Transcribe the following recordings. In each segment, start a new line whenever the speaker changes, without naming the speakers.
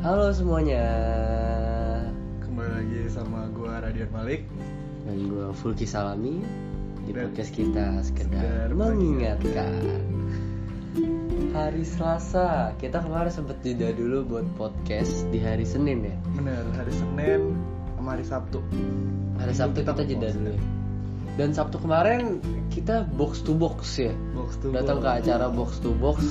Halo semuanya
Kembali lagi sama gua Radian Malik
Dan gue Fulki Salami Di
Dan-
podcast kita sekedar
sekedar
mengingatkan Hari Selasa Kita kemarin sempet jeda dulu buat podcast di hari Senin ya
Bener, hari Senin sama hari Sabtu
Hari
Minggu
Sabtu
kita
kita jeda
nge-post.
dulu ya. Dan Sabtu kemarin kita box to box ya
Box to
Datang ke
box.
acara box to box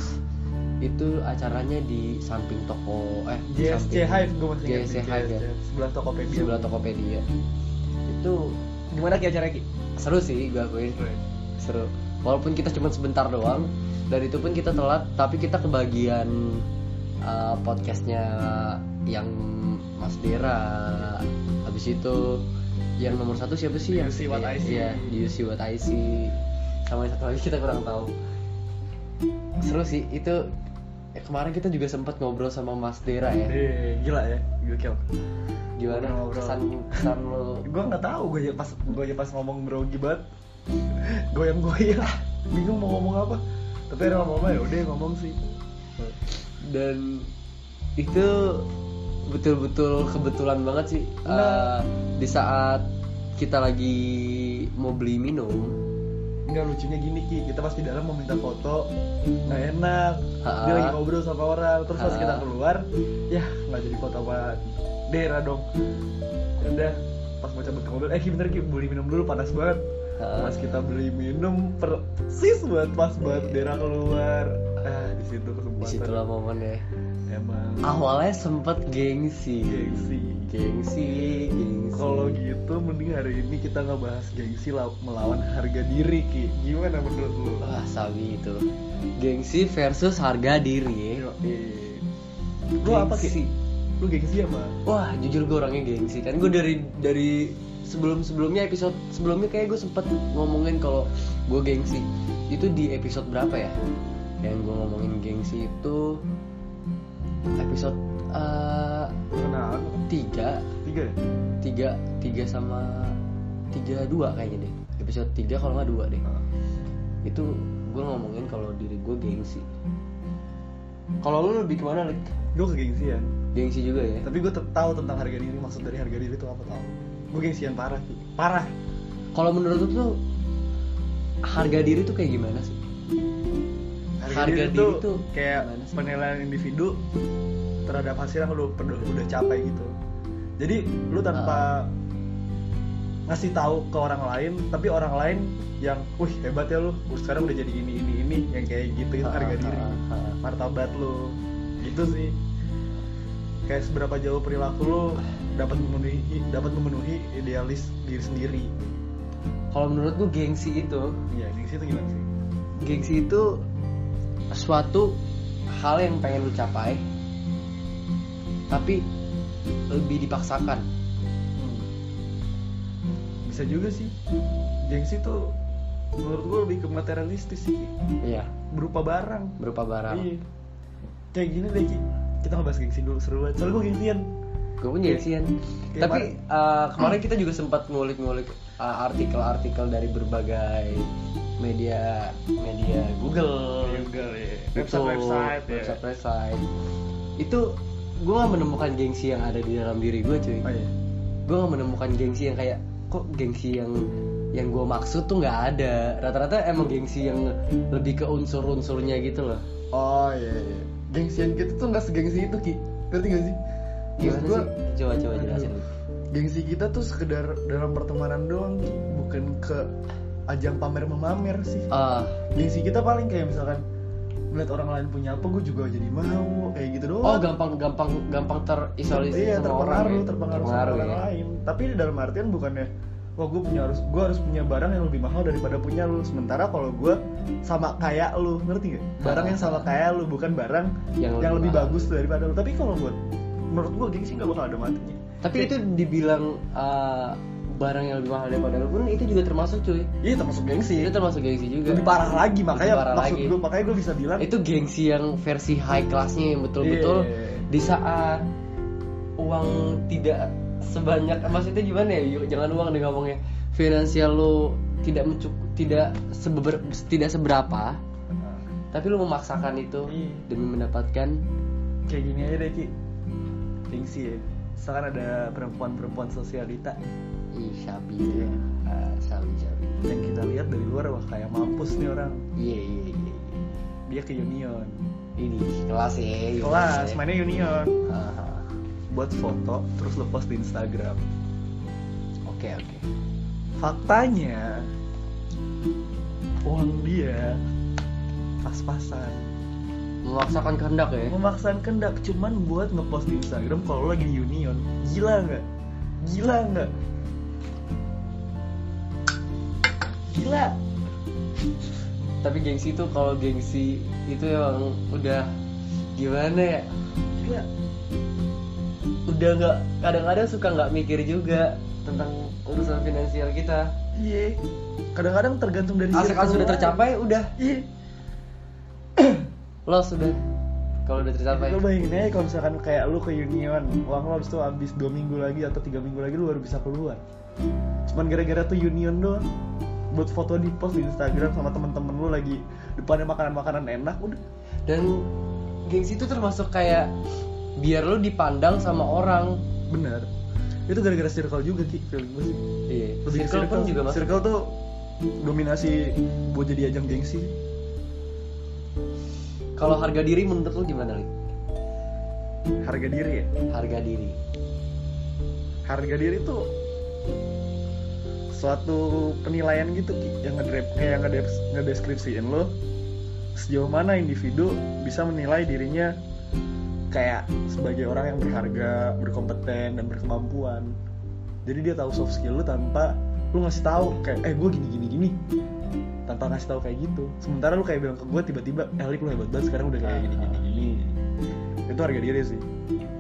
Itu acaranya di samping toko Eh di
JSC
samping-
Hive gue masih ingat
JSC
nih,
Hive ya
Sebelah Tokopedia
Sebelah Tokopedia Itu
Gimana Ki acara Ki?
seru sih gue akuin seru walaupun kita cuma sebentar doang dan itu pun kita telat tapi kita kebagian uh, podcastnya yang Mas Dera habis itu yang nomor satu siapa sih
Do
yang
You See What I See?
Iya, Do You See What I See. sama yang satu lagi kita kurang tahu seru sih itu eh, kemarin kita juga sempat ngobrol sama Mas Dera ya
Eh, gila ya, gokil
gimana
ngobrol-ngobrol.
kesan kesan lo
Gue gak tau, gue aja pas, gua aja pas ngomong grogi banget Goyang-goyang, bingung mau ngomong apa Tapi ada ngomong apa ya, udah ngomong sih
dan itu betul-betul kebetulan banget sih Eh,
Nah.
di saat kita lagi mau beli minum
Enggak lucunya gini Ki, kita pas di dalam mau minta foto nggak enak
Ha-ha.
Dia lagi ngobrol sama orang, terus pas
Ha-ha.
kita keluar Ya nggak jadi foto sama Dera dong Ya Udah, pas mau cabut ke mobil, eh Ki bener Ki, beli minum dulu panas banget
Ha-ha.
Pas kita beli minum, persis banget pas banget Dera keluar Ah, di situ kesempatan
disitulah momennya
Emang
awalnya sempet gengsi
gengsi
gengsi gengsi
kalau gitu mending hari ini kita nggak bahas gengsi lah melawan harga diri Ki Gimana menurut lu?
wah sabi itu gengsi versus harga diri
Yoi. Lu apa
Gengsi.
sih? Lu gengsi sama?
Wah, jujur gue orangnya gengsi kan. Gue dari dari sebelum sebelumnya episode sebelumnya kayak gue sempet ngomongin kalau gue gengsi. Itu di episode berapa ya? Yang gue ngomongin gengsi itu episode eh,
Kenal
tiga
Tiga ya?
tiga tiga sama tiga dua kayaknya deh. Episode tiga kalau nggak dua deh.
Ah.
Itu gue ngomongin kalau diri gue gengsi. Kalau lu lebih kemana? Lik?
Gue kegengsian
Gengsi juga ya?
Tapi gue tetap tahu tentang harga diri Maksud dari harga diri itu apa tau Gue gengsian parah Ki Parah
Kalau menurut lu tuh harga diri tuh kayak gimana sih? Harga diri tuh
Kayak
gimana sih?
penilaian individu Terhadap hasil yang lu udah, udah capai gitu Jadi lu
Ah.
tanpa ngasih tahu ke orang lain tapi orang lain yang wih hebat ya lu Lu sekarang udah jadi ini ini ini yang kayak gitu itu harga
Ah,
diri
ah, ah.
martabat lu gitu sih kayak seberapa jauh perilaku lu dapat memenuhi dapat memenuhi idealis diri sendiri
Kalau menurut gua gengsi itu,
ya di situ gimana sih
gengsi itu suatu hal yang pengen lu capai, tapi lebih dipaksakan.
Hmm. bisa juga sih gengsi tuh menurut gue lebih ke materialistis sih Ki.
Iya,
berupa barang
berupa barang.
iya kayak gini deh Ki kita ngebahas gengsi dulu seru banget soalnya gue gengsian
Gue pun gengsian.
Kayak
Tapi eh, kemarin kita juga sempat ngulik-ngulik eh, artikel-artikel dari berbagai media media Google,
iya. website website ya
website website itu gue gak menemukan gengsi yang ada di dalam diri gue cuy
oh iya
gue gak menemukan gengsi yang kayak kok gengsi yang yang gue maksud tuh nggak ada rata-rata emang gengsi yang lebih ke unsur-unsurnya gitu loh
oh iya, iya. gengsian gitu tuh nggak segengsi itu Ki ngerti gak sih
gimana
Maksud gua-
sih coba coba
Aduh.
jelasin
gengsi kita tuh sekedar dalam pertemanan doang Ki. bukan ke ajang pamer memamer sih
ah
gengsi kita paling kayak misalkan melihat orang lain punya apa gue juga jadi mau kayak gitu doang
oh gampang gampang gampang terisolasi
iya
sama orang ya.
terpengaruh terpengaruh sama
Terpengaruh
orang
ya.
lain tapi di dalam artian bukannya wah gue punya harus gue harus punya barang yang lebih mahal daripada punya lu sementara kalau gue sama kayak lu ngerti gak barang yang sama kayak lu bukan barang
Yang
yang,
lebih
lebih
mahal.
bagus daripada lu tapi kalau buat menurut gue gengsi nggak bakal ada matinya
tapi
Kayak-
itu dibilang ah, barang yang lebih mahal daripada lu pun itu juga termasuk cuy
iya termasuk gengsi
itu termasuk gengsi juga
lebih parah lagi makanya
parah
maksud
lagi.
gue makanya gue bisa bilang
itu gengsi yang versi high classnya yang betul-betul
Iya.
di saat uang tidak sebanyak maksudnya gimana ya yuk jangan uang deh ngomongnya finansial lo tidak mencukup tidak sebeber, tidak seberapa
"Ah,
tapi lu memaksakan itu
Iya.
demi mendapatkan
kayak gini aja deh ki gengsi ya sekarang ada perempuan-perempuan sosialita
Ih, syabi itu ya. Ah, syabi, syabi.
yang kita lihat dari luar wah kayak mampus nih orang
Iya, iya, iya. iya.
dia ke Union
Ini kelas ya. gitu
kelas
ya.
mainnya Union
Ah,
buat foto terus lo post di Instagram
Oke, oke.
faktanya uang dia pas-pasan
Memaksakan kehendak ya.
memaksakan kendak cuman buat ngepost di Instagram kalau lo lagi di Union gila nggak gila nggak gila
Tapi gengsi itu kalau gengsi itu emang udah gimana ya?
gila
Udah nggak kadang-kadang suka nggak mikir juga tentang urusan finansial kita.
iya kadang-kadang tergantung dari
Asalkan
circle
sudah
doang.
tercapai, udah
iya
los sudah. Kalau udah tercapai.
lo bayangin aja kalau misalkan kayak lo ke Union uang lo habis itu habis dua minggu lagi atau tiga minggu lagi lo baru bisa keluar cuman gara-gara tuh Union doang buat foto di post di Instagram sama temen-temen lo lagi depannya makanan-makanan enak udah
Dan gengsi itu termasuk kayak biar lo dipandang sama orang.
bener itu gara-gara circle juga ki feeling gue sih
Iya.
Lebih ke
Circle pun juga masuk.
circle tuh dominasi buat jadi ajang gengsi
Kalau harga diri menurut lo gimana, Li?
harga diri ya
Harga diri.
harga diri tuh suatu penilaian gitu Ki, yang ngedrep kayak yang ngedep- ngedeskripsiin lo sejauh mana individu bisa menilai dirinya kayak sebagai orang yang berharga, berkompeten dan berkemampuan. Jadi dia tahu soft skill lu tanpa lu ngasih tahu kayak eh gue gini gini gini tanpa ngasih tahu kayak gitu. Sementara lu kayak bilang ke gue tiba-tiba eh Lik, lu hebat banget sekarang udah kayak gini gini gini. Itu harga diri sih.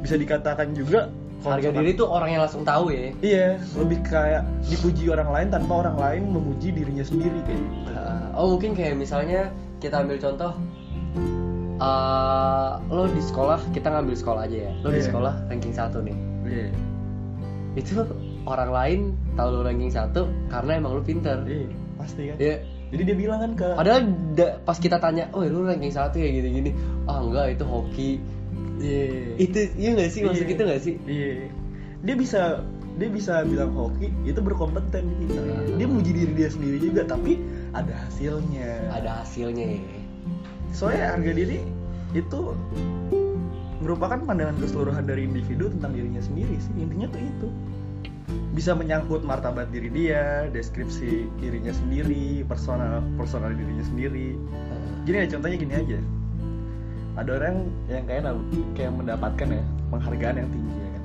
Bisa dikatakan juga kalau
Harga
misalkan-
diri tuh orang yang langsung tahu ya.
Iya, lebih kayak dipuji orang lain tanpa orang lain memuji dirinya sendiri kayak gitu.
Uh, oh mungkin kayak misalnya kita ambil contoh uh, lo di sekolah kita ngambil sekolah aja ya lo di
Iya.
sekolah ranking satu nih
Iya.
itu orang lain tahu lo ranking satu karena emang lo pinter
Iya, pasti kan.
ya
Jadi dia bilang kan ke
padahal da- pas kita tanya oh lo ranking satu ya gini gini ah enggak itu hoki
Iya.
itu iya nggak sih maksud
Iya.
itu nggak sih
Iya. Dia bisa dia bisa bilang hoki itu berkompeten gitu. Dia muji diri dia sendiri juga tapi ada hasilnya.
ada hasilnya ya
Soalnya harga diri itu merupakan pandangan keseluruhan dari individu tentang dirinya sendiri sih. Intinya tuh itu. Bisa menyangkut martabat diri dia, deskripsi dirinya sendiri, personal personal dirinya sendiri. gini ya contohnya gini aja ada orang yang kayak nam- kayak mendapatkan ya penghargaan yang tinggi ya kan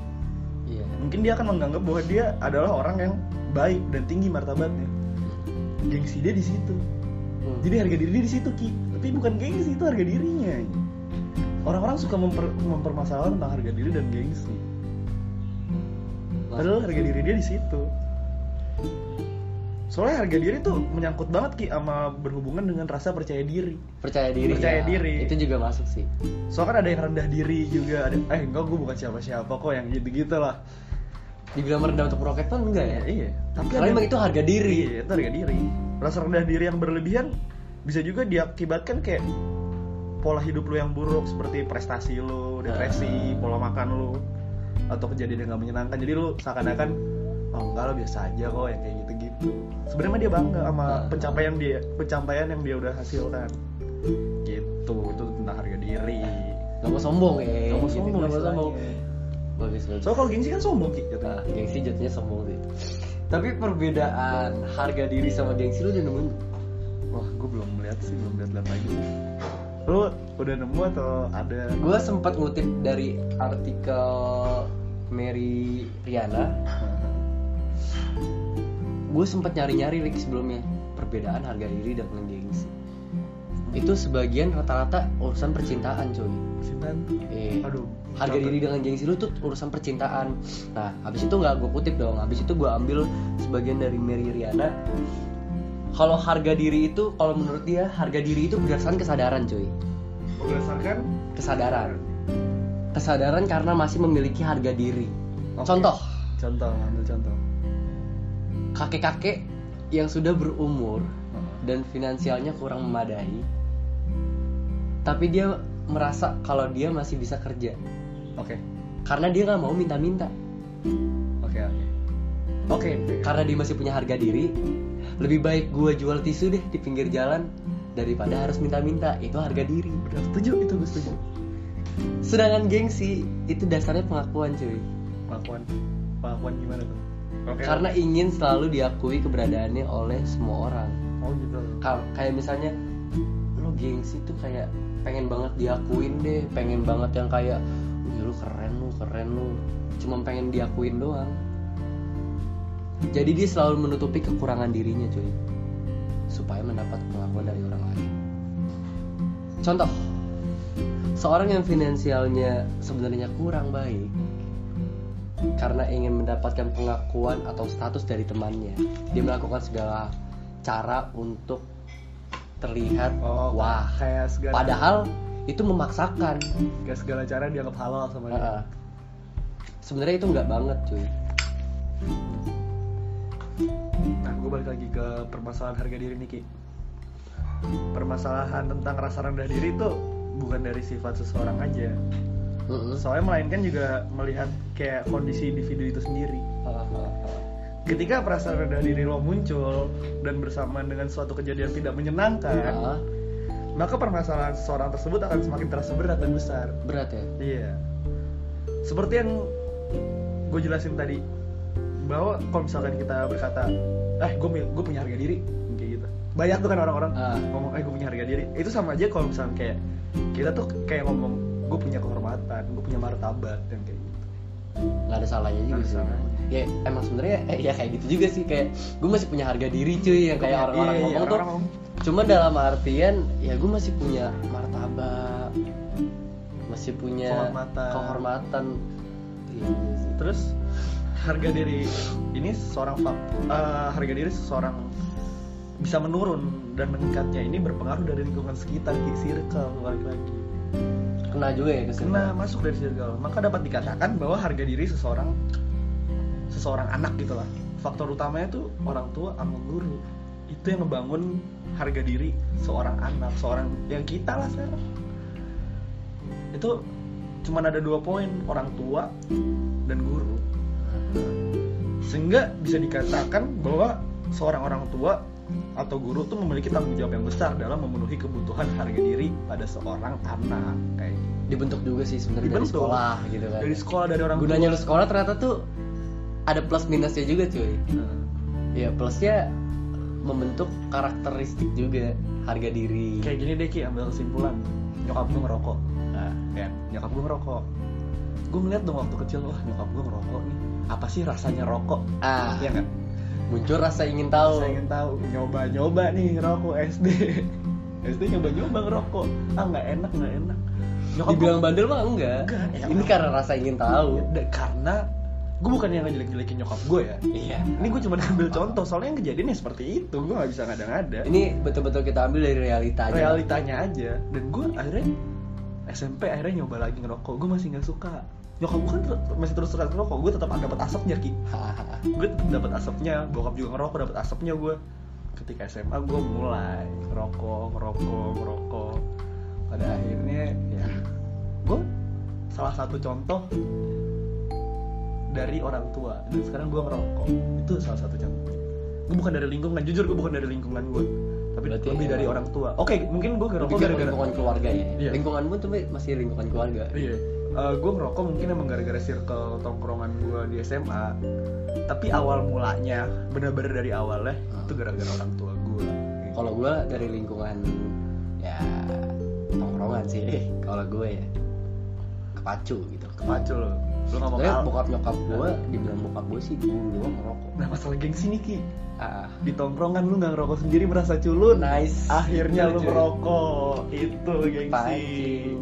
iya
mungkin dia akan menganggap bahwa dia adalah orang yang baik dan tinggi martabatnya gengsi dia di situ
Hmm.
jadi harga diri dia di situ ki tapi bukan gengsi itu harga dirinya orang-orang suka memper- mempermasalahkan tentang harga diri dan gengsi
Mas-
padahal harga diri dia di situ soalnya harga diri tuh menyangkut banget ki sama berhubungan dengan rasa percaya diri
percaya diri ya,
Percaya diri.
itu juga masuk sih
Soalnya kan ada yang rendah diri juga, ada eh enggak gue bukan siapa-siapa kok yang gitu-gitu lah.
dibilang merendah untuk meroket pun enggak ya
iya. Tapi
karena emang itu harga diri
Iya, itu harga diri. Rasa rendah diri yang berlebihan bisa juga diakibatkan kayak pola hidup lu yang buruk seperti prestasi lu, depresi,
Ah.
pola makan lu atau kejadian yang gak menyenangkan. Jadi lu seakan-akan oh enggak lah biasa aja kok yang kayak gitu-gitu. Sebenarnya mah dia bangga sama
Ah.
pencapaian dia, pencapaian yang dia udah hasilkan. Gitu, itu tentang harga diri.
Gak mau sombong ya
Gak mau
gitu.
sombong
Gak mau
istilahnya.
sombong Bagus bagus
So kalau gengsi kan sombong Ki jatuhnya.
Nah, Gengsi jatuhnya sombong sih Tapi perbedaan harga diri sama gengsi lu udah nemuin
Wah gue belum melihat sih belum lihat lihat lagi. Lu udah nemu atau ada?
Gue sempat ngutip dari artikel Mary Riana Gue sempat nyari-nyari Rick sebelumnya Perbedaan harga diri dan gengsi Itu sebagian rata-rata urusan percintaan coy
Cintaan.
Eh,
Aduh.
harga diri dengan gengsi lu tuh urusan percintaan nah habis itu nggak gue kutip dong habis itu gue ambil sebagian dari Mary Riana kalau harga diri itu kalau menurut dia harga diri itu berdasarkan kesadaran cuy
Berdasarkan.
kesadaran kesadaran karena masih memiliki harga diri
Oke.
contoh
Contoh, ambil contoh.
kakek-kakek yang sudah berumur dan finansialnya kurang memadai tapi dia merasa kalau dia masih bisa kerja
Oke.
karena dia nggak mau minta-minta
Oke oke. Oke. oke.
karena dia masih punya harga diri lebih baik gua jual tisu deh di pinggir jalan daripada harus minta-minta itu harga diri
Udah setuju itu gue setuju.
sedangkan gengsi itu dasarnya pengakuan cuy
Pengakuan pengakuan gimana tuh? Oke.
karena ingin selalu diakui keberadaannya oleh semua orang
oh gitu.
Ka- kayak misalnya lu gengsi tuh kayak pengen banget diakuin deh pengen banget yang kayak "Wih, lu keren lu keren lu cuma pengen diakuin doang jadi dia selalu menutupi kekurangan dirinya cuy supaya mendapat pengakuan dari orang lain contoh seorang yang finansialnya sebenarnya kurang baik karena ingin mendapatkan pengakuan atau status dari temannya dia melakukan segala cara untuk terlihat
Oh
wah
kayak segala
padahal itu memaksakan
kayak segala cara dianggap halal sama dia.
Heeh. sebenarnya itu nggak banget cuy
Nah, gue balik lagi ke permasalahan harga diri nih Ki. Permasalahan tentang rasa rendah diri itu bukan dari sifat seseorang aja.
Heeh.
Soalnya melainkan juga melihat kayak kondisi individu itu sendiri.
Heeh, heeh, heeh.
Ketika perasaan rendah diri lo muncul dan bersamaan dengan suatu kejadian tidak menyenangkan,
Heeh.
maka permasalahan seseorang tersebut akan semakin terasa berat dan besar.
berat ya
Iya. Seperti yang gue jelasin tadi bahwa kalau misalkan kita berkata, eh gue gue punya harga diri, kayak gitu. Banyak tuh kan orang-orang
Ah.
ngomong, eh gue punya harga diri. Itu sama aja kalau misalkan kayak kita tuh kayak ngomong, gue punya kehormatan, gue punya martabat dan kayak gitu.
nggak ada salahnya juga
Nggak ada
sih
salahnya.
ya emang sebenarnya eh, ya kayak gitu juga sih kayak gue masih punya harga diri cuy yang kayak orang-orang
Iya, iya,
ngomong tuh
orang-orang ngomong.
cuma dalam artian ya gue masih punya martabat masih punya
Kehormatan.
kehormatan. Iya sih.
Terus harga diri ini seorang fak- eh, harga diri seseorang bisa menurun dan meningkatnya ini berpengaruh dari lingkungan sekitar, kayak circle, balik lagi.
kena juga ya kesini
kena masuk dari circle maka dapat dikatakan bahwa harga diri seseorang seseorang anak gitu lah faktor utamanya tuh orang tua sama guru itu yang ngebangun harga diri seorang anak seorang yang kita lah sekarang itu cuman ada dua poin orang tua dan guru sehingga bisa dikatakan bahwa seorang orang tua atau guru tuh memiliki tanggung jawab yang besar dalam memenuhi kebutuhan harga diri pada seorang anak kayak gitu
dibentuk juga sih sebenarnya dari
Dibentuk.
sekolah gitu kan
dari sekolah dari orang
gunanya lu sekolah ternyata tuh ada plus minusnya juga cuy
tua. Nah,
ya plusnya membentuk karakteristik juga harga diri
kayak gini deh ki ambil kesimpulan nyokap gue ngerokok
Nah,
ya nyokap gue ngerokok gue ngeliat dong waktu kecil wah nyokap gue ngerokok nih apa sih rasanya rokok
ah
ya nggak
muncul rasa ingin tahu
saya ingin tahu nyoba nyoba nih ngerokok SD SD nyoba nyoba ngerokok ah nggak enak nggak enak nyokap
dibilang bandel mah enggak,
Enggak, ya Iya.
ini
kan.
karena rasa ingin
gue
tahu
karena gue bukan yang ngejelek-jelekin nyokap gue ya
iya
ini gue cuma ambil contoh soalnya yang kejadiannya seperti itu gue nggak bisa ngada-ngada
ini betul-betul kita ambil dari realita aja
realitanya aja dan gue akhirnya SMP akhirnya nyoba lagi ngerokok gue masih nggak suka nyokap gue kan ter- masih terus terusan ngerokok gue tetap dapat asapnya ki
Hahaha.
gue tetap dapat asapnya bokap juga ngerokok dapat asapnya gue ketika SMA gue mulai ngerokok ngerokok ngerokok pada akhirnya ya gue salah satu contoh dari orang tua dan sekarang gue ngerokok itu salah satu contoh gue bukan dari lingkungan jujur gue bukan dari lingkungan gue tapi
Berarti
lebih
ya.
dari orang tua oke mungkin gue
Lu
ngerokok
pikir
gara-gara
lingkungan keluarga ya
Iya.
lingkungan pun tuh masih lingkungan keluarga
Iya. gue ngerokok mungkin emang gara-gara circle tongkrongan gue di SMA. Tapi awal mulanya bener-bener dari awalnya
Hmm.
itu gara-gara orang tua gue.
kalau gue dari lingkungan ya tongkrongan
Iya.
sih kalau gue ya kepacu gitu
Kepacul lo. Lo nggak mau
Tapi
kalah.
bokap nyokap gue
Iya.
dibilang bokap gue sih gue doang ngerokok
Nah masalah gengsi nih Ki.
ah
Di tongkrongan lu nggak ngerokok sendiri merasa culun.
nice
Akhirnya
Lucu.
lu ngerokok. Itu gengsi.
Pancing.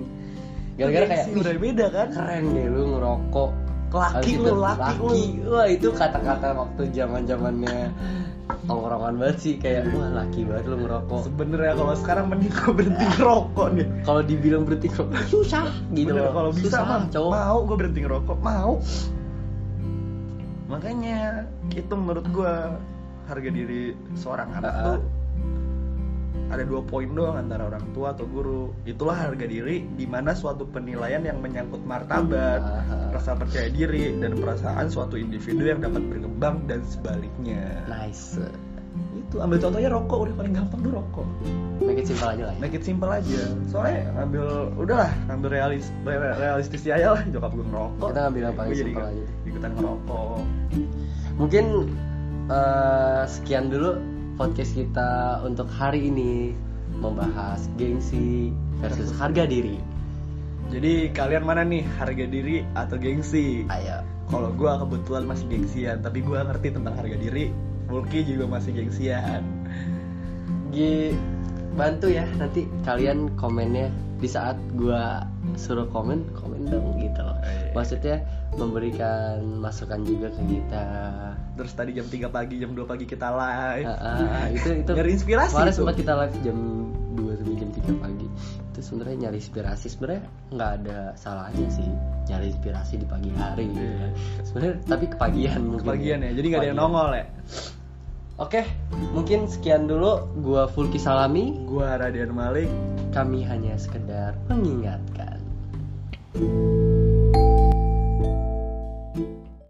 gara-gara kayak
Gengsi
"Wih,
udah beda kan?
keren deh lu ngerokok Habis
Laki
itu,
lu, laki lu.
wah itu kata-kata waktu zaman zamannya tongkrongan banget sih kayak wah laki banget lu ngerokok
Sebenernya kalau sekarang mending gue berhenti ngerokok nih.
kalau dibilang berhenti kok susah gitu
Bener,
loh
kalau bisa
susah,
mah
cowok
mau gue berhenti ngerokok mau makanya itu menurut gue harga diri seorang anak
Ah.
tuh ada dua poin doang antara orang tua atau guru itulah harga diri di mana suatu penilaian yang menyangkut martabat
Ah,
rasa percaya diri dan perasaan suatu individu yang dapat berkembang dan sebaliknya
nice
itu ambil contohnya rokok udah paling gampang tuh rokok
make it simple aja lah ya
make it simple aja soalnya ambil udahlah ambil realis re- realistis aja lah nyokap gue ngerokok
Kita ambil yang paling
Gue jadi
simple
ikut-
aja deh.
ikutan ngerokok
mungkin eh, sekian dulu podcast kita untuk hari ini membahas gengsi versus harga diri
jadi kalian mana nih harga diri atau gengsi
ayo
kalau gue kebetulan masih gengsian tapi gue ngerti tentang harga diri Mulki juga masih gengsian
Gi bantu ya nanti kalian komennya di saat gua suruh komen komen dong gitu
Oh,
loh
iya,
maksudnya memberikan masukan juga ke kita
terus tadi jam 3 pagi jam 2 pagi kita live
Ah, ah, ah, itu itu
nyari inspirasi
kemarin
tuh.
sempat kita live jam 2 sampai jam 3 pagi itu sebenarnya nyari inspirasi sebenarnya nggak ada salahnya sih nyari inspirasi di pagi hari gitu kan sebenarnya tapi kepagian mungkin
Iya. kepagian ya jadi nggak ada yang
Kepagian.
nongol ya
oke mungkin sekian dulu gua Fulki Salami
gue Radian Malik
kami hanya sekedar mengingatkan.